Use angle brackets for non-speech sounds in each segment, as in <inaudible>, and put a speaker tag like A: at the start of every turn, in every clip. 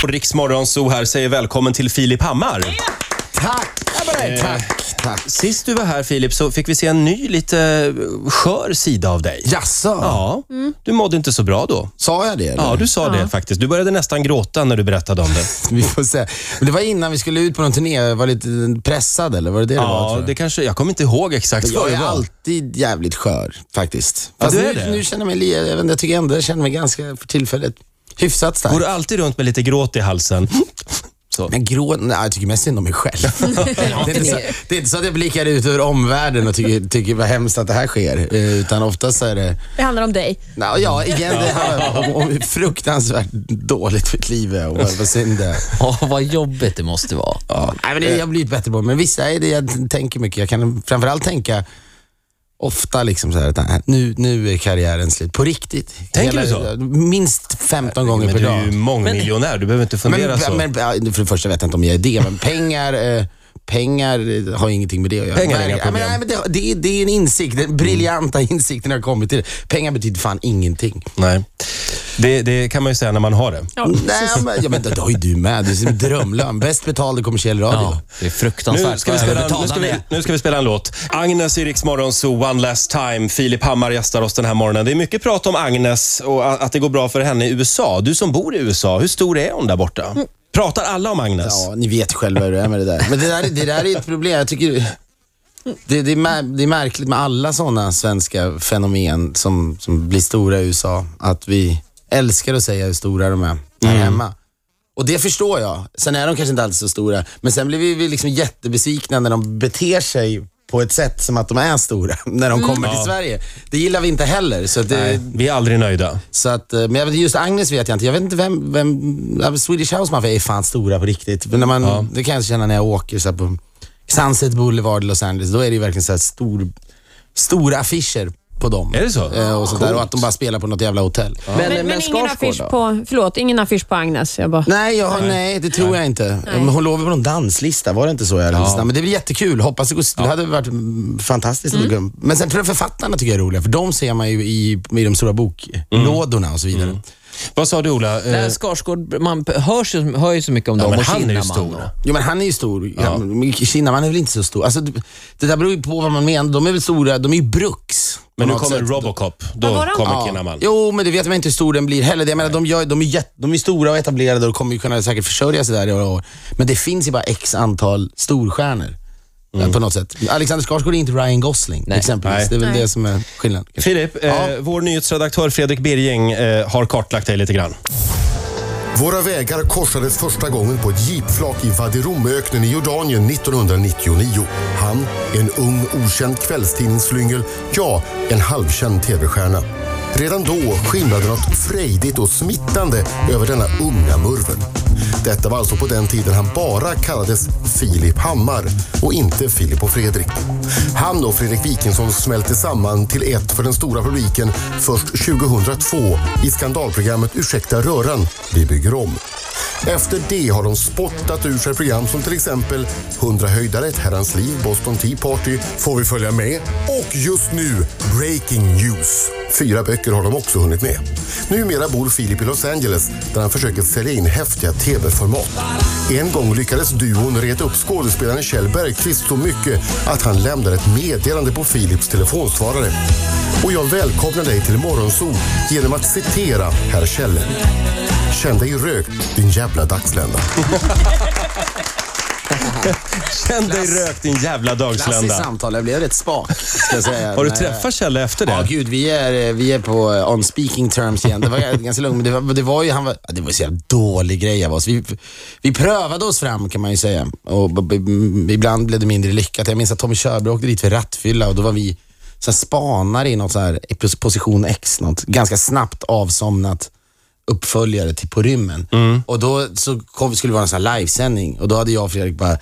A: på Riks Morgonzoo här säger välkommen till Filip Hammar.
B: Tack!
A: Eh,
B: Tack, tack.
A: Sist du var här Filip så fick vi se en ny lite eh, skör sida av dig.
B: Jaså?
A: Ja, du mådde inte så bra då.
B: Sa jag det? Eller?
A: Ja, du sa det faktiskt. Du började nästan gråta när du berättade om det.
B: Vi får se. Men det var innan vi skulle ut på någon turné. Jag var lite pressad, eller var det det det var?
A: Ja,
B: tror jag?
A: det kanske... Jag kommer inte ihåg exakt vad
B: Jag
A: det
B: är
A: var.
B: alltid jävligt skör, faktiskt.
A: Ja,
B: Fast
A: du är
B: nu,
A: det.
B: nu känner jag mig, li- jag vet inte, jag tycker ändå jag känner mig ganska, för tillfället, hyfsat stark.
A: Går du alltid runt med lite gråt i halsen? Så.
B: Men grå, nej, jag tycker mest synd om
A: <laughs>
B: mig själv. det, är inte så, det är inte så att jag blickar ut över omvärlden och tycker, tycker vad hemskt att det här sker. Eh, Utan oftast så är det,
C: Det handlar om dig.
B: nej, ja igen, det handlar om, om hur fruktansvärt dåligt mitt liv är och vad, vad synd det är.
D: Ja, vad jobbigt det måste vara.
B: Ja. Nej, men det,
A: Eh.
B: jag har blivit bättre på det. men vissa är det jag t- tänker mycket. Jag kan framförallt tänka ofta liksom så här, att äh, nu, nu är karriären slut. På riktigt.
A: Tänker du så?
B: Minst 15 gånger
A: Men
B: per
A: du är ju
B: dag.
A: mångmiljonär, du behöver inte fundera
B: Men,
A: så.
B: men ja, för det första vet jag inte om jag är det, men pengar, eh, pengar eh, har ingenting med det att göra.
A: Pengar är inga
B: Nej, men,
A: problem. Mm.
B: nej, men det, det, är- det är en insikt, den briljanta insikten har kommit till det. Pengar betyder fan ingenting.
A: Nej. Det, det kan man ju säga när man har det.
B: Nej, men, ja, men det, det har ju du med. Det är som en drömlön. Bäst betald i kommersiell radio.
D: Ja, det är fruktansvärt
A: Nu ska, vi spela, nu, ska vi, nu ska vi spela en låt. Agnes i Rix Morgon Zoo, One Last Time. Filip Hammar gästar oss den här morgonen. Det är mycket prat om Agnes och a- att det går bra för henne i USA. Du som bor i USA, hur stor är hon där borta? Pratar alla om Agnes?
B: Ja, ni vet själva hur det är med det där. Men det där, det där är ett problem. Jag tycker det, det, är, mär, det är märkligt med alla sådana svenska fenomen som, som blir stora i USA. Att vi älskar att säga hur stora de är här hemma. Och det förstår jag. Sen är de kanske inte alltid så stora. Men sen blir vi vi liksom jättebesvikna när de beter sig på ett sätt som att de är stora <laughs> när de kommer till Sverige. Det gillar vi inte heller. Så att det,
A: Nej, vi är aldrig nöjda.
B: så att, eh, men jag vet, just Agnes vet jag inte. Jag vet inte vem, vem ja, Swedish House Mafia är fan stora på riktigt. Men när man, Det kan jag känna när jag åker så här på Sunset Boulevard i Los Angeles. Då är det ju verkligen så här stor, stora affischer på dem.
A: Är det så?
B: Eh, och, sånt där, och att de bara spelar på något jävla hotell.
C: Men, men, ingen, affisch på, förlåt, ingen affisch på Agnes. Jag bara,
B: Nej, jag, nej. det tror jag inte. Men Hon låg väl på någon danslista, var det inte så? Jag ja. Men det blir jättekul. Hoppas det går... Det hade varit mm, fantastiskt. om det kunde- Men sen tror jag författarna tycker jag är roliga, för de ser man ju i, i de stora boklådorna och så vidare.
A: Vad sa du Ola? Eh,
D: Nej, Skarsgård, man hörs, ju- hör ju så mycket om
A: Ja,
D: dem.
A: men
D: och
A: han är ju
D: Kinnaman
A: stor.
D: och-
B: Jo men han är ju stor. Ja. men Kinnaman är väl inte så stor. Alltså, det- det där beror ju på vad man menar. De är väl stora, de är ju bruks.
A: Men nu
B: på något
A: kommer
B: sätt.
A: Robocop. Då
C: var han?
A: kommer
B: Ja.
A: Kinnaman.
B: Jo, men det vet man inte hur stor den blir heller. Jag menar, de, gör, de, är jätt, de är stora och etablerade och kommer ju kunna säkert försörja sig där i några år. Men det finns ju bara x antal storstjärnor. eh, På något sätt. Alexander Skarsgård är inte Ryan Gosling exempelvis.
A: Mm. Nej.
B: Det är väl
C: Nej.
B: det som är skillnaden.
A: Filip, eh, vår nyhetsredaktör Fredrik Birging eh, har kartlagt dig lite grann.
E: Våra vägar korsades första gången på ett jeepflak i Vadiromöknen i Jordanien 1999. Han, en ung okänd kvällstidningsflyngel, ja, en halvkänd tv-stjärna. Redan då skimrade något frejdigt och smittande över denna unga murvel. Detta var alltså på den tiden han bara kallades Filip Hammar och inte Filip och Fredrik. Han och Fredrik Wikingsson smälte samman till ett för den stora publiken först 2002 i skandalprogrammet Ursäkta röran, vi bygger om. Efter det har de spottat ur sig program som till exempel 100 höjdare, Ett herrans liv, Boston Tea Party, Får vi följa med och just nu Breaking News. Fyra böcker har de också hunnit med. Numera bor Filip i Los Angeles där han försöker sälja in häftiga tv-format. En gång lyckades duon reta upp skådespelaren Kjell Bergqvist så mycket att han lämnade ett meddelande på Philips telefonsvarare. Och jag välkomnar dig till Morgonzoo genom att citera herr Kjelle. Känn dig rökt, din jävla dagslända.
A: Känn dig rökt din jävla
B: Klassiskt
A: dagslända.
B: samtal. Jag blev rätt spak, ska jag säga.
A: Har du
B: Nej.
A: träffat Kjelle efter det?
B: Ja, gud, vi är, eh, vi är på eh, on speaking terms igen. Det var
A: <laughs>
B: g- ganska lugnt, men det var, det var ju, han var, ja, det var så jävla dålig grej av oss. Vi, vi prövade oss fram kan man ju säga. Och b- b- m- ibland blev det mindre lyckat. Jag minns att Tommy Körberg åkte dit för rattfylla och då var vi så här, spanare i något så här, i pos- position X, något ganska snabbt avsomnat uppföljare till På rymmen.
A: Mm.
B: Och då så kom, skulle det vara en sån här livesändning och då hade jag och Fredrik bara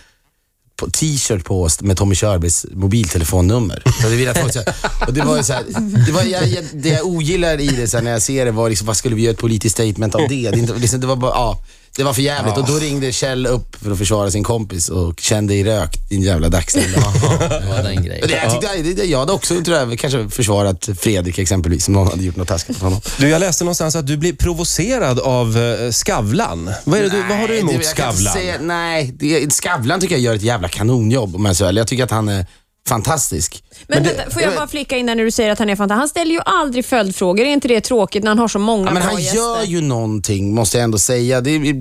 B: på- t-shirt på oss med Tommy Körbergs mobiltelefonnummer. Så det, vill jag folk så här, och det var ju så här, det, var, jag, jag, det jag ogillar i det så här, när jag ser det var liksom, vad skulle vi göra ett politiskt statement av det? Det, är inte, liksom, det var bara, ja. Det var för jävligt och då ringde Kjell upp för att försvara sin kompis och kände i rök, din jävla dagslilla.
D: Det var den grejen.
B: Men det, jag, tyckte, det, det, jag hade också tror jag, kanske försvarat Fredrik exempelvis, om någon hade gjort något taskigt mot honom.
A: Du, jag läste någonstans att du blir provocerad av eh, Skavlan. Vad, är det du, vad har du
B: Nej, det-
A: emot
B: jag kan inte
A: Skavlan?
B: säga- nej, det, Skavlan tycker jag gör ett jävla kanonjobb om jag ska vara ärlig. Jag tycker att han är fantastisk.
C: Men,
B: det-
C: vänta, får jag bara flicka in där när du säger att han är fantastisk. Han ställer ju aldrig följdfrågor. Är inte det tråkigt när han har så många
B: Ja, men
C: bra
B: han
C: gäster?
B: gör ju någonting, måste jag ändå säga. Det, är-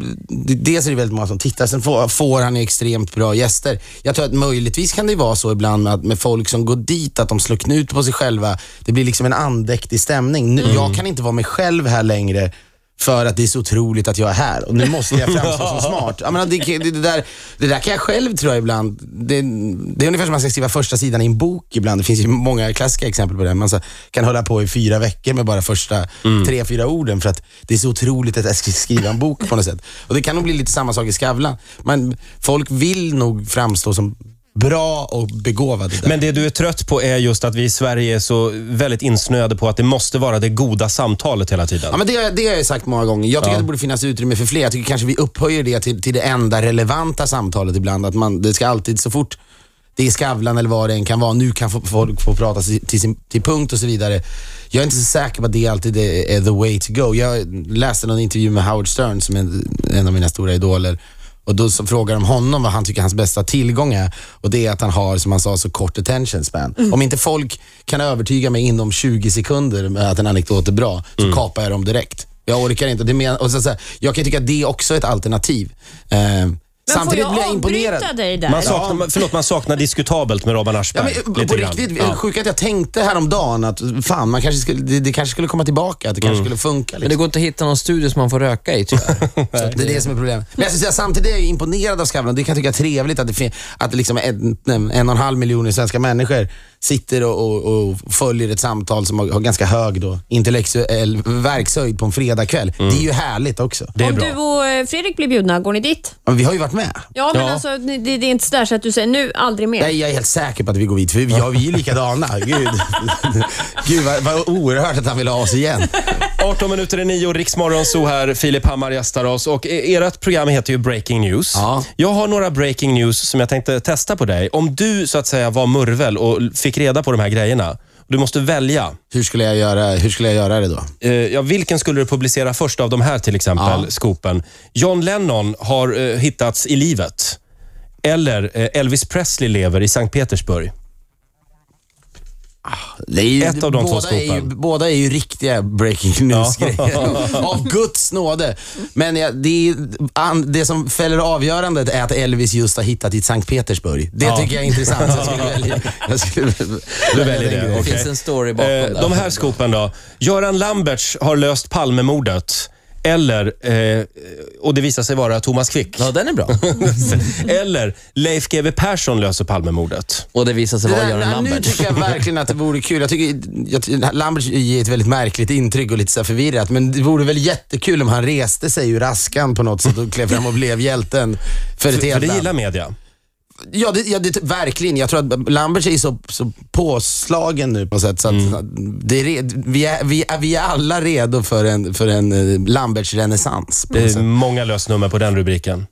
B: det, dels är det väldigt många som tittar, sen får, får han ju extremt bra gäster. Jag tror att möjligtvis kan det vara så ibland med, att, med folk som går dit, att de slår knut på sig själva. Det blir liksom en andäktig stämning. Nu,
C: Mm.
B: Jag kan inte vara mig själv här längre för att det är så otroligt att jag är här och nu måste jag framstå som
C: <laughs>
B: smart. Jag menar, det, det, det, där, det där kan jag själv tror jag ibland. Det, det är ungefär som man ska skriva första sidan i en bok ibland. Det finns ju många klassiska exempel på det. Man så, kan hålla på i fyra veckor med bara första tre, fyra orden för att det är så otroligt att jag ska skriva en bok på något sätt. Och Det kan nog bli lite samma sak i Skavlan. Men folk vill nog framstå som bra och begåvade. Där.
A: Men det du är trött på är just att vi i Sverige är så väldigt insnöade på att det måste vara det goda samtalet hela tiden.
B: Ja, men det, har- det har jag sagt många gånger. Jag tycker att det borde finnas utrymme för fler. Jag tycker kanske vi upphöjer det till, till det enda relevanta samtalet ibland. Att man, det ska alltid, så fort det är Skavlan eller vad det än kan vara, nu kan få- folk få prata si- till, sin, till punkt och så vidare. Jag är inte så säker på att det alltid är, är the way to go. Jag läste någon intervju med Howard Stern, som är en av mina stora idoler. Och då så frågar de honom vad han tycker hans bästa tillgång är. Och det är att han har, som han sa, så kort attention span. Om inte folk kan övertyga mig inom 20 sekunder med att en anekdot är bra, så kapar jag dem direkt. Jag orkar inte. Det men, och så, så här, jag kan tycka att det också är ett alternativ. Eh,
C: Men
B: samtidigt
C: får
B: blir
C: jag
B: jag imponerad.
C: avbryta dig där?
A: Man saknar, man- Förlåt, man saknar diskutabelt med Robban
B: Ja,
A: Aschberg.
B: men,
A: lite
B: på
A: grann.
B: riktigt,
A: Ja.
B: sjukt att jag tänkte häromdagen att fan, man kanske skulle, det, det kanske skulle komma tillbaka, att det kanske skulle funka.
D: Men
B: Liksom.
D: det går inte att hitta någon studio som man får röka i tyvärr.
B: Det är det som är problemet. Men jag skulle säga, samtidigt är jag ju imponerad av Skavlan. Det kan jag tycka är trevligt att, det fin- att det liksom en, en och en halv miljon svenska människor sitter och, och, och följer ett samtal som har, har ganska hög då, intellektuell verkshöjd på en fredagkväll. Det är ju härligt också.
A: Mm. Det är
C: Om
A: bra.
C: du och eh, Fredrik blir bjudna, går ni dit?
B: Men vi har ju varit med.
C: Ja, men
A: Ja.
C: alltså det, det är inte sådär så att du säger nu, aldrig mer.
B: Nej, jag är helt säker på att vi går dit, för vi, ja, vi är
A: <laughs>
B: ju likadana. Gud, Gud vad, vad oerhört att han vill ha oss igen.
A: 18 minuter i nio, Riksmorgon så här. Filip Hammar gästar oss och e- ert program heter ju Breaking News.
B: Ja.
A: Jag har några breaking news som jag tänkte testa på dig. Om du så att säga var murvel och l- fick reda på de här grejerna. Du måste välja.
B: Hur skulle jag göra, hur skulle jag göra det då?
A: Eh, ja, vilken skulle du publicera först av de här till exempel,
B: Ja.
A: skopen? John Lennon har eh, hittats i livet. Eller eh, Elvis Presley lever i Sankt Petersburg.
B: Det är ju,
A: Ett av de två
B: båda är ju,
A: skopen.
B: Båda är ju riktiga breaking
A: <laughs>
B: news-grejer. av Guds nåde. Men ja, det, är, an, det som fäller avgörandet är att Elvis just har hittat i Sankt Petersburg. Det tycker jag är intressant. så Jag skulle
A: <laughs>
B: välja, jag skulle
A: Du
B: välja
A: väljer
B: den
A: det.
B: grejen.
A: okej. Eh,
D: finns en story bakom där.
A: De här skopen då. Göran Lamberts har löst Palmemordet. Eller, eh, och det visar sig vara Thomas Quick.
D: Ja, den är bra.
A: Eller Leif GW Persson löser Palmemordet.
D: Och det visar sig
B: Det
D: vara
B: där-
D: Göran
B: nej, Nu
D: Lambert.
B: tycker jag verkligen att det vore kul. Jag tycker, jag, ty- Lambert ger ett väldigt märkligt intryck och lite så här förvirrat, men det vore väl jättekul om han reste sig ur askan på något sätt och klev fram och blev hjälten för ett
A: För
B: helt
A: det
B: land.
A: gillar media.
B: Ja, det, ja det, verkligen. Jag tror att Lambert är så, så påslagen nu på något sätt. Så att, det är, red- vi, är, vi, är, vi är alla redo för en, för en eh, Lamberts-renässans. på
A: Det
B: något
A: är
B: sätt.
A: många lösnummer på den rubriken.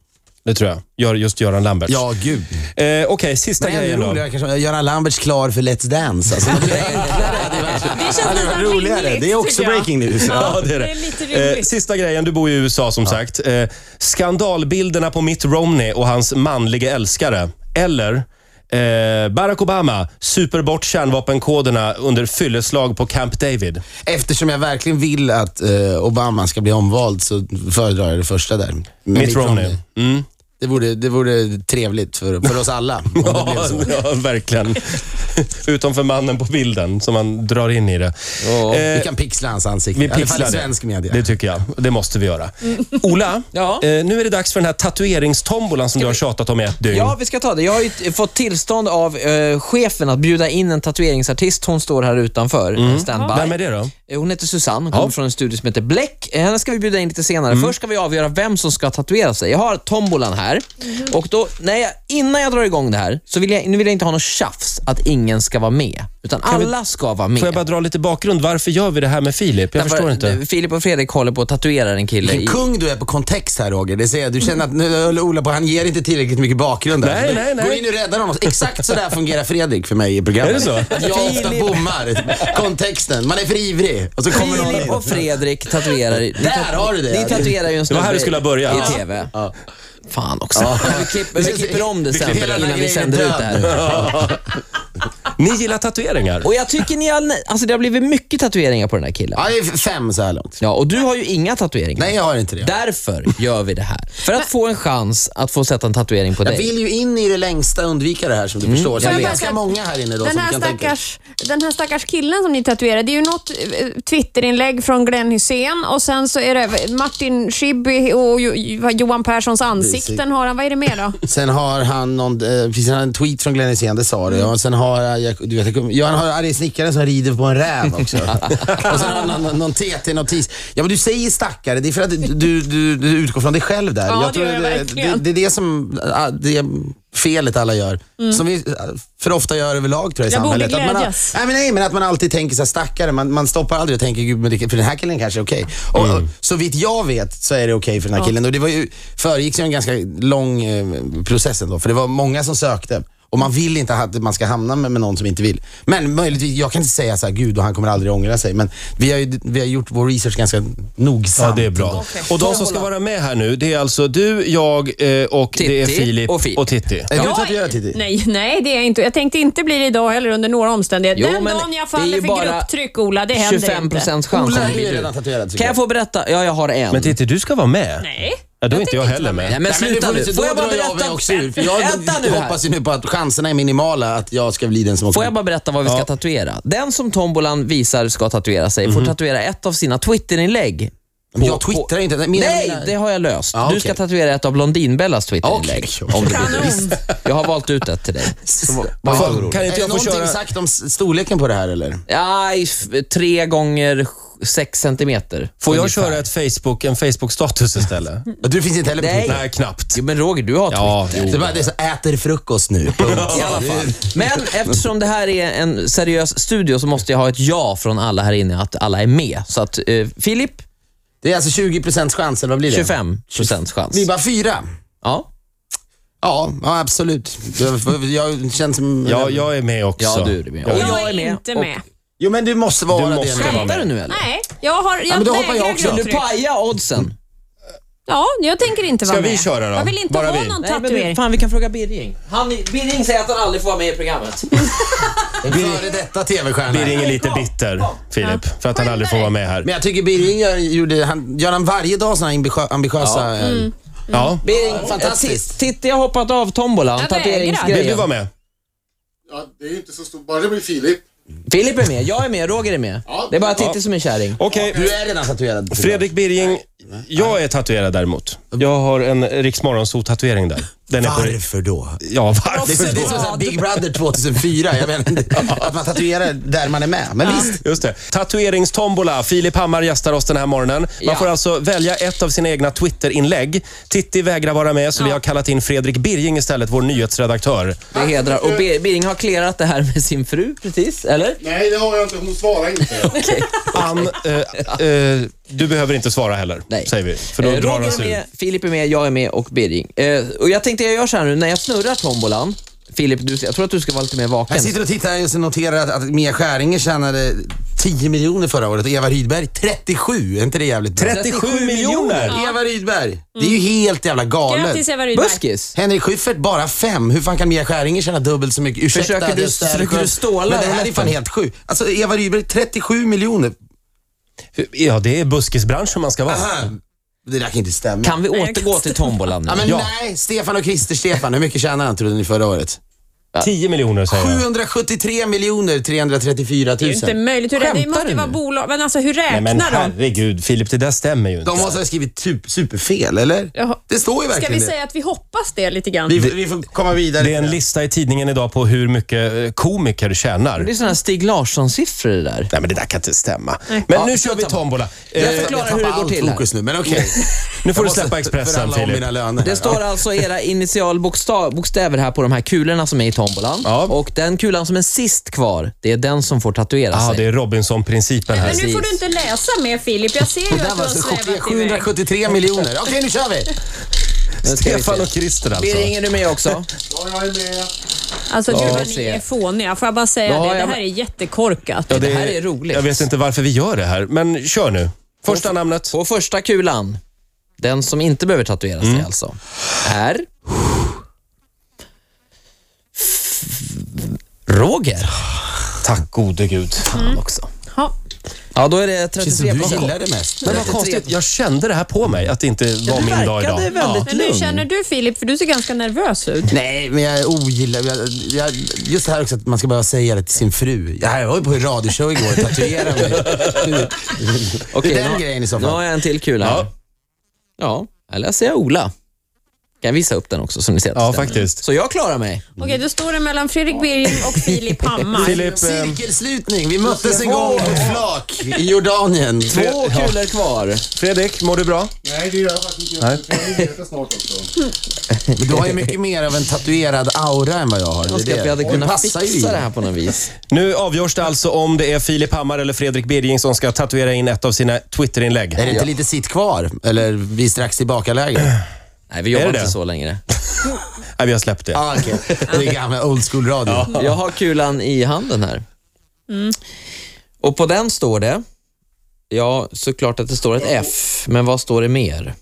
A: Det tror jag. Gör- Just Göran Lamberts.
B: Ja, gud.
A: Eh, Okej, sista
B: Men ännu
A: grejen då.
B: roligare kanske, Göran Lamberts klar för Let's Dance. Alltså, <laughs> det är enklare.
C: Det känns
B: Det hade
C: nästan
B: varit roligare.
C: rimligt,
B: Det är också
C: tycker jag.
B: breaking news.
A: Ja, det är
C: Det är lite
A: det.
C: rimligt.
A: Eh, sista grejen, du bor ju i USA som sagt. Eh, skandalbilderna på Mitt Romney och hans manliga älskare. Eller eh, Barack Obama super bort kärnvapenkoderna under fylleslag på Camp David.
B: Eftersom jag verkligen vill att eh, Obama ska bli omvald så föredrar jag det första där. Mitt,
A: Mitt Romney. Mm.
B: Det vore, det vore trevligt för, för oss alla om det blev <laughs>
A: Ja,
B: så.
A: <laughs> ja, verkligen. Utom för mannen på bilden som man drar in i det.
D: Ja.
A: Eh,
B: Vi kan pixla hans ansikte.
A: Vi
B: I alla fall
A: pixlar
B: i
A: det.
B: svensk media.
A: Det tycker jag. Det måste vi göra. Ola,
D: Ja.
A: eh, nu är det dags för den här tatueringstombolan som du har tjatat om i ett dygn.
D: <laughs> Ja, vi ska ta det. Jag har ju t- fått tillstånd av eh, chefen att bjuda in en tatueringsartist. Hon står här utanför, eh, standby.
A: Vem är det då?
D: Eh, Hon heter Susanne, hon kommer från en studio som heter Bläck. Eh, Henne ska vi bjuda in lite senare. Först ska vi avgöra vem som ska tatuera sig. Jag har tombolan här. Och då, när jag, innan jag drar igång det här, så vill jag, nu vill jag inte ha något tjafs att ingen ska vara med. Utan alla ska vara med.
A: Får jag bara dra lite bakgrund? Varför gör vi det här med Filip? Jag
D: Därför-
A: förstår inte.
D: Filip och Fredrik håller på att tatuera en kille.
A: typ-
B: Vilken
D: I,
B: kung du är på kontext här Roger. Det ser jag. Du känner att nu höll Ola på, han ger inte tillräckligt mycket bakgrund. där.
A: Nej,
B: Så nu-
A: nej, nej.
B: Gå in och rädda honom. Exakt så där fungerar Fredrik för mig i programmet.
A: Är det så?
B: Att jag ofta
D: Filip.
B: bommar kontexten. Man är för ivrig. Och så kommer någon
D: Filip och Fredrik tatuerar... Ni tat-
B: har du det.
D: Ni tatuerar ju en
A: Det var här du skulle ha börjat.
D: I
A: Ja.
D: TV. Fan också. Vi, klipper, vi klipper om det sen
B: Hela den här
D: innan vi
B: grejen
D: sänder
B: är
D: ut det här.
B: död.
A: Ni gillar tatueringar?
D: Och jag tycker ni har, alltså det har blivit mycket tatueringar på den här killen.
B: Ja, det är fem så här långt.
D: Ja, och du har ju inga tatueringar.
B: Nej, jag har inte det.
D: Därför gör vi det här. För att få en chans att få sätta en tatuering på
B: Jag
D: dig.
B: vill ju in i det längsta undvika det här som du förstår. Så
D: jag
B: det är
D: vet.
B: ganska många här inne då
C: Den
B: som
C: här,
B: kan tänka.
C: stackars, den här stackars killen som ni tatuerade, det är ju något eh, Twitterinlägg från Glenn Hussein och sen så är det Martin Schibbye och Jo- Jo- Johan Perssons ansikten har han. Vad är det mer då?
B: Sen har han någon, eh, precis, han har en tweet från Glenn Hysén, det sa du. Och sen har eh, jag, du vet, jag kommer- ja, han har arga snickaren som rider på en räv också. och sen har han någon, någon TT-notis. Ja men du säger stackare, det är för att du, du, du utgår från dig själv där.
C: Ja, det gör jag
B: det, det,
C: verkligen.
B: det är det som, ah, det är felet alla gör. Som vi eh, för ofta gör överlag tror jag i
C: Mm. Jag borde
B: samhället. Att man har-
C: glädjas.
B: Nej men, nej, men att man alltid tänker så här, stackare. Man, man stoppar aldrig och tänker, gud, men det, för den här killen kanske är okej. Och,
A: Mm.
B: och, så vitt jag vet så är det okej för den här killen. Och det var ju, föregicks ju en ganska lång eh, process ändå, för det var många som sökte. Och man vill inte att man ska hamna med, med någon som inte vill. Men möjligtvis, jag kan inte säga så här, gud och han kommer aldrig ångra sig. Men vi har, ju, vi har gjort vår research ganska nogsamt.
A: Ja, det är bra. Och de som ska vara med här nu, det är alltså du, jag eh, och det är
D: Titti
A: Filip
D: och Filip. Eh,
A: och Titti.
B: Är du
C: Jag-
B: tatuerad Titti?
C: Nej, nej, det är jag inte. Jag tänkte inte bli det idag heller under några omständigheter.
D: Jo,
C: Den
D: men
C: dagen jag
D: det är
C: faller
D: ju
C: för
D: bara
C: grupptryck, Ola, det händer
D: 25
C: inte.
D: procents chans
B: Ola
D: att det
B: är ju
D: blir
B: redan
D: du.
B: tatuerad tycker
D: Kan jag få berätta? Ja, jag har en.
A: Men Titti, du ska vara med.
C: Nej.
A: Ja, då är inte
C: tänkte
A: jag heller
C: vara
A: med.
D: Nej, men
B: Nej, men
D: sluta
B: det får
D: nu.
B: inte-
D: Får
B: då
D: jag bara
B: drar jag
D: berätta?
B: mig också ur, för jag
D: Vänta nu här.
B: hoppas ju nu på att chanserna är minimala att jag ska bli den som åker
D: Får jag bara berätta vad vi ska tatuera? Den som tombolan visar ska tatuera sig
B: Mhm.
D: får tatuera ett av sina Twitterinlägg.
B: Men jag twittrar inte. Nej, mina-
D: Nej,
B: mina-
D: det har jag löst.
B: Ja,
D: Du
B: okej.
D: ska tatuera ett av Blondinbellas Twitterinlägg.
B: Okej.
D: Om du vill.
C: Kanon.
D: Jag har valt ut ett till dig. Så,
B: Vad
A: Fan,
B: orolig.
A: kan inte
B: Är
A: jag få
B: det någonting
A: köra-
B: sagt om s- storleken på det här eller?
D: aj, f- tre gånger sj- sex centimeter.
A: Får jag
D: ungefär.
A: köra ett Facebook, en Facebook-status
D: <laughs>
A: istället?
B: Du finns inte heller på
D: Nej.
B: Twitter.
A: Nej, knappt.
D: Jo, men Roger, du har
A: Ja,
D: Twitter.
A: jo.
B: Det är bara det är så, äter frukost nu. Punkt.
D: I alla fall. Men eftersom det här är en seriös studio så måste jag ha ett ja från alla här inne att alla är med. Så att eh, Filip,
B: Det är alltså 20 chans, eller vad blir det?
D: 25 procents chans.
B: Vi är bara fyra.
D: Ja,
B: Ja, ja absolut. Jag, jag känns som...
A: Ja, jag är med också.
D: ja du är med. Och
A: Ja.
C: Jag är inte
D: Och-
C: med.
B: Jo, men du måste vara
A: Du
B: det
A: måste
B: nu.
A: vara
D: Skämtar du nu eller?
C: Nej, jag har... Jag
B: men då hoppar jag
C: vägrar
B: också.
D: Vill du
C: grupptryck.
D: paja oddsen?
C: Ja, jag tänker inte vara
A: Ska vi
C: med.
A: köra då?
C: Jag vill inte
A: Bara
C: ha
A: vi?
C: någon
D: Nej, men
C: tatuering.
D: vi- fan, vi kan fråga Birging. Han, Birging säger att han aldrig får vara med i programmet.
B: Före detta tv-stjärna.
A: Birring är lite bitter, Filip, för att han aldrig får vara med här.
B: Men jag tycker Birging gör, gjorde, han, gör han varje dag såna här ambitio- ambitiösa... eh,
A: Ja.
D: Birging,
B: fantastiskt.
D: fantastiskt. Titti har hoppat av tombolan,
C: Jag vägrar.
A: Vill du
D: tatueringsgrejen.
A: vara med?
F: Ja, det är ju inte så stor, bara det blir Filip.
D: Filip är med, jag är med, Roger är med. Det är bara Titti som är kärring.
A: Okej.
B: Du är redan tatuerad.
A: Fredrik Birring, jag är tatuerad däremot. Jag har en Rix tatuering där. Den är på...
B: Varför då?
A: Ja,
B: Det är, så,
A: varför
B: det är som
A: då?
B: så här Big Brother 2004. Jag vet <laughs> inte, att man tatuerar där man är med. Men visst.
A: Just det. Tatueringstombola. Filip Hammar gästar oss den här morgonen. Man
D: Ja.
A: får alltså välja ett av sina egna Twitterinlägg. Titti vägrar vara med, så vi har kallat in Fredrik Birging istället, vår nyhetsredaktör.
D: Det hedrar. Och Bir- Birging har clearat det här med sin fru precis, eller?
F: Nej, det har jag inte. Hon svarar inte.
A: Ann, eh, eh, du behöver inte svara heller,
D: Nej.
A: säger vi. För då
D: Eh,
A: drar han
D: Roger är
A: sig ur.
D: med, Filip är med, jag är med och Birging. Eh, och jag tänkte jag gör så här nu, när jag snurrar tombolan. Filip, du, jag tror att du ska vara lite mer vaken.
B: Jag sitter och tittar just och noterar att, att Mia Skäringer tjänade 10 miljoner förra året och Eva Rydberg 37. Är inte det jävligt bra?
A: 37 miljoner!
B: Eva Rydberg. Det är ju helt jävla galet.
C: Grattis Eva Rydberg.
D: Buskis?
B: Henrik Schyffert bara fem. Hur fan kan Mia Skäringer tjäna dubbelt så mycket? Ursäkta,
D: Försöker du-
B: det är så här
D: försöker
B: skönt.
D: du ståla
B: Men det här är fan
D: rätten?
B: helt sjukt. Alltså Eva Rydberg, 37 miljoner.
A: Ja, det är buskisbranschen man ska vara.
B: Aha. Det där kan inte stämma.
D: Kan vi
C: jag
D: återgå till tombolan nu?
B: Ja, men
A: Ja.
B: nej. Stefan och Christer-Stefan, hur mycket tjänade han trodde ni förra året?
A: 10 miljoner säger jag.
B: 773 miljoner 334
C: Det är ju inte
B: 000.
C: möjligt. Hur det, det
B: Skämtar
C: måste
B: du
C: ju vara
B: nu?
C: bolag. Men alltså hur
A: Nej, men
C: räknar de?
A: herregud, Filip, det där stämmer ju inte.
B: De måste ha skrivit typ superfel, eller?
C: Jaha.
B: Det står ju
C: Ska
B: verkligen
C: vi
B: det.
C: säga att vi hoppas det lite grann?
B: Vi, vi får komma vidare.
A: Det är en lista i tidningen idag på hur mycket eh, komiker tjänar.
D: Det är såna här Stig Larsson-siffror det där.
A: Nej, men det där kan inte stämma. Men nu kör vi tombola. Eh,
D: Jag förklarar hur det går till här.
B: fokus nu, men okej.
A: nu får
B: Jag
A: du
B: måste
A: släppa Expressen,
B: förhandla om
A: Filip.
B: mina löner. här.
D: Det står alltså era initialbokstäver här på de här kulorna som är i tombolan.
A: Ja.
D: Och den kulan som är sist kvar, det är den som får tatuera
A: Ah,
D: sig.
A: det är Robinson-principen här.
C: Men nu får du inte läsa mer Filip. Jag ser ju
B: Det där
C: att du
B: var
C: har
B: så
C: svävat iväg.
B: 773 alltså, miljoner. Okej, nu kör vi!
D: Nu ska vi se.
A: Stefan och Christer alltså.
D: Birger, ringer du med också?
F: Ja, jag är med.
C: Alltså gud vad ni
D: ser jag.
C: är fåniga. Får jag bara säga
D: Ja,
C: det? Det
D: jag-
C: här är jättekorkat.
D: det här är roligt.
A: Jag vet inte varför vi gör det här, men kör nu. Första
D: På-
A: namnet.
D: På första kulan, den som inte behöver tatuera sig
B: Mm.
D: alltså, är... Roger.
A: Tack gode gud.
D: Fan också.
C: Ja.
D: Ja, då är det
B: Känns som
D: 33
B: du
D: poäng.
B: gillar det mest.
A: Men vad konstigt, jag kände det här på mig, att det inte var
D: det
A: min dag
D: verkade
A: idag.
D: väldigt
C: Men hur
D: lugn.
C: känner du Filip? För du ser ganska nervös ut.
B: Nej, men jag ogillar... Jag, jag, just det här också att man ska behöva säga det till sin fru. Ja, Jag var ju på en radioshow igår och tatuerade mig.
D: Okej,
B: den
D: nu har-
B: grejen i så
D: Nu
B: fall.
D: har jag en till kula här.
A: Ja.
D: Ja, här läser jag Ola. Kan jag visa upp den också så ni ser att det
A: Ja,
D: stämmer?
A: faktiskt.
D: Så jag klarar mig.
C: Okej, då står det mellan Fredrik Birging och Filip Hammar.
A: Filip, eh,
B: Cirkelslutning. Vi möttes en gång på ett flak i Jordanien.
D: Två kulor kvar.
A: Fredrik, mår du bra?
F: Nej, det gör jag faktiskt inte. Jag tror jag vet det snart också.
B: Men du har ju mycket mer av en tatuerad aura än vad jag har.
D: Jag önskar att vi hade
B: Och
D: kunnat
B: passar ju i.
D: fixa det här på något vis.
A: Nu avgörs det alltså om det är Filip Hammar eller Fredrik Birging som ska tatuera in ett av sina Twitterinlägg.
B: Är det inte lite sitt kvar? Eller vi är strax tillbaka läge?
D: Nej, vi jobbar
A: Är det
D: inte
A: det?
D: så längre.
A: Nej, vi har släppt det.
B: ah, okej. Det är gamla old school radio.
D: Jag har kulan i handen här. Och på den står det, ja såklart att det står ett F, men vad står det mer?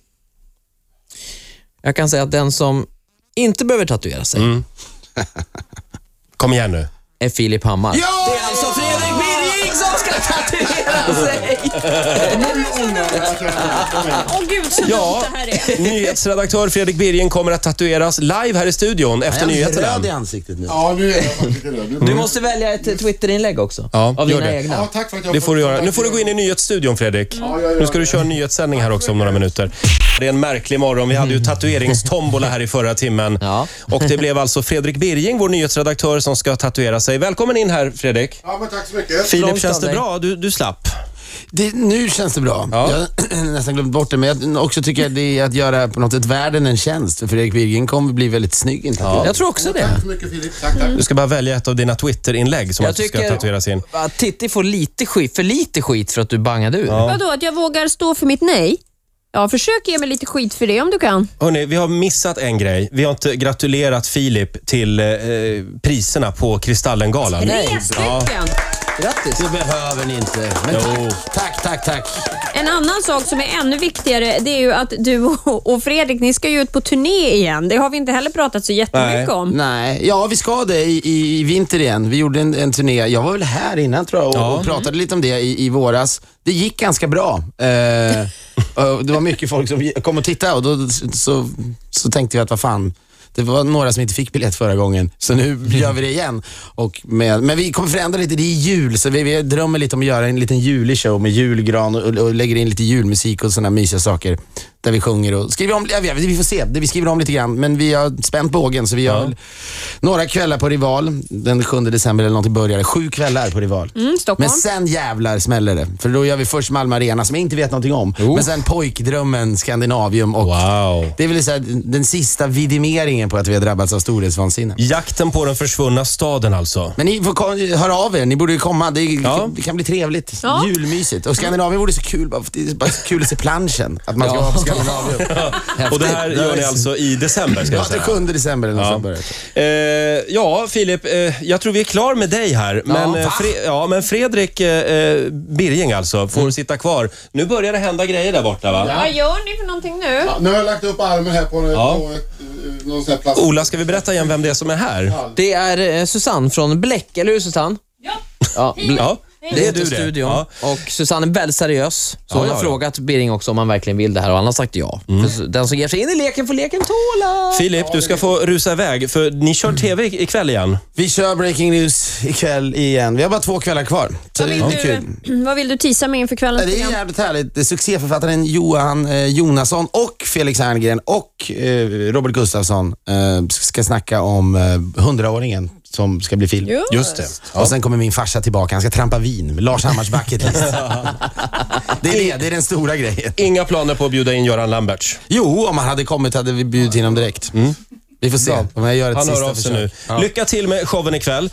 D: Jag kan säga att den som inte behöver tatuera sig
A: Kom igen nu.
D: är Filip Hammar.
B: Ja!
D: Det är alltså Fredrik Birging som ska tatuera sig!
C: Åh gud, så
A: Ja.
C: dumt det här är.
A: Nyhetsredaktör Fredrik Birging kommer att tatueras live här i studion efter
B: Jag är röd i
A: nyheterna.
B: ansiktet nu.
F: Ja, nu är jag faktiskt lite röd. Nu-
D: Du måste välja ett Twitterinlägg också.
A: Ja,
D: av
A: gör
D: dina
A: det.
D: egna.
F: Ja, tack för att jag
A: Det får du göra. Nu får du gå in i nyhetsstudion Fredrik.
F: Ja, jag gör
A: Nu ska du
F: det.
A: köra en nyhetssändning här också om några minuter. Det är en märklig morgon. Vi hade ju tatueringstombola här i förra timmen.
D: Ja.
A: Och det blev alltså Fredrik Birging, vår nyhetsredaktör, som ska tatuera sig. Välkommen in här Fredrik.
F: Ja, men tack så mycket.
A: Filip,
D: Långt
A: känns
D: av
A: det
D: dig.
A: bra? Du, du slapp.
B: Det, nu känns det bra.
A: Ja.
B: Jag har <clears throat> nästan glömt bort det, men jag också tycker att det är att göra på något sätt världen en tjänst. För Fredrik Virgin kommer bli väldigt snygg i en tatuering.
D: Jag tror också det.
F: Tack så mycket Filip. Tack, tack.
A: Du ska bara välja ett av dina Twitterinlägg som
D: Jag
A: att du ska
D: tycker-
A: tatueras in.
D: Att Titti får lite skit, för lite skit för att du bangade ur.
C: Vadå, att jag vågar stå för mitt nej? Ja, försök ge mig lite skit för det om du kan.
A: Hörrni, vi har missat en grej. Vi har inte gratulerat Filip till eh, priserna på Kristallengalan.
C: Tre stycken!
D: Grattis.
B: Det behöver ni inte. Men
A: Jo.
B: tack, tack, tack, tack.
C: En annan sak som är ännu viktigare det är ju att du och och Fredrik, ni ska ju ut på turné igen. Det har vi inte heller pratat så jättemycket
A: Nej.
C: om.
B: Nej, ja vi ska det i, i, i vinter igen. Vi gjorde en, en turné, jag var väl här innan tror jag och, och pratade lite om det i, i våras. Det gick ganska bra. Eh, <laughs> och det var mycket folk som kom och tittade och då så, så tänkte vi att vad fan, det var några som inte fick biljett förra gången, så nu gör vi det igen. Och med, men vi kommer förändra lite, det är jul, så vi, vi drömmer lite om att göra en liten julig show med julgran och, och lägger in lite julmusik och sådana mysiga saker. Där vi sjunger och skriver om, jag vet, vi får se, vi skriver om lite grann, men vi har spänt bågen så vi gör väl några kvällar på Rival, den 7 december eller någonting börjar det. Sju kvällar på Rival.
C: Mm,
B: Men
C: Stockholm.
B: sen jävlar smäller det. För då gör vi först Malmö Arena, som jag inte vet någonting om. Men sen Pojkdrömmen, Skandinavium och
A: Wow.
B: det är väl så här, den sista vidimeringen på att vi har drabbats av storhetsvansinne.
A: Jakten på den försvunna staden alltså.
B: Men ni får ko- höra av er, ni borde ju komma. Det, är-
A: Ja.
B: det kan bli trevligt.
C: Ja.
B: Julmysigt. Och Skandinavien vore så kul, bara för det är bara så kul att se planschen. Att man ska
D: Ja.
B: vara på Skandinavien.
A: Och det här gör ni alltså i december ska
B: Ja,
A: jag
B: den
A: säga.
B: 7 december eller
A: Ja.
B: något ja.
A: Eh, ja, Filip, eh, jag tror vi är klar med dig här. Men, eh,
B: va?
A: Fre- ja, men Fredrik eh, eh, Birging alltså, får
D: Mm.
A: sitta kvar. Nu börjar det hända grejer där borta va?
C: Vad gör ni för någonting nu?
F: Ja, nu har jag lagt upp armen här på,
A: Ja.
F: på ett, eh, någon sån här plats.
A: Ola, ska vi berätta igen vem det är som är här?
D: Det är eh, Susanne från Bläck, eller hur Susanne?
C: Ja.
D: Ja, Bl-
A: Ja,
D: Det
A: det är
D: heter
A: du det.
D: studion
A: Ja.
D: och Susanne är väldigt seriös. Så
A: Ja,
D: hon har
A: ja, Mm. ja.
D: frågat Birring också om han verkligen vill det här och han har sagt ja. För Den som ger sig in i leken får leken tåla.
A: Filip, du ska få rusa iväg för ni kör
D: Mm.
A: TV i- ikväll igen.
B: Vi kör breaking news ikväll igen. Vi har bara två kvällar kvar. Så
C: Vad
B: det
C: vill,
B: är kul.
C: du, vad vill du tisa med inför kvällens
B: Det är
C: program?
B: jävligt härligt. Det är Succéförfattaren Johan eh, Jonasson och Felix Herngren och eh, Robert Gustafsson eh, ska snacka om eh, hundraåringen som ska bli film.
C: Just. Just
B: det. Och sen kommer min farsa tillbaka. Han ska trampa vin. Lars Hammars bucket list. det, är det, det är den stora grejen.
A: Inga planer på att bjuda in Göran Lamberts.
B: Jo, om han hade kommit hade vi bjudit in honom direkt. Vi får se. Men jag gör ett
A: Han
B: sista
A: hör av sig
B: försök.
A: nu. Lycka till med showen ikväll.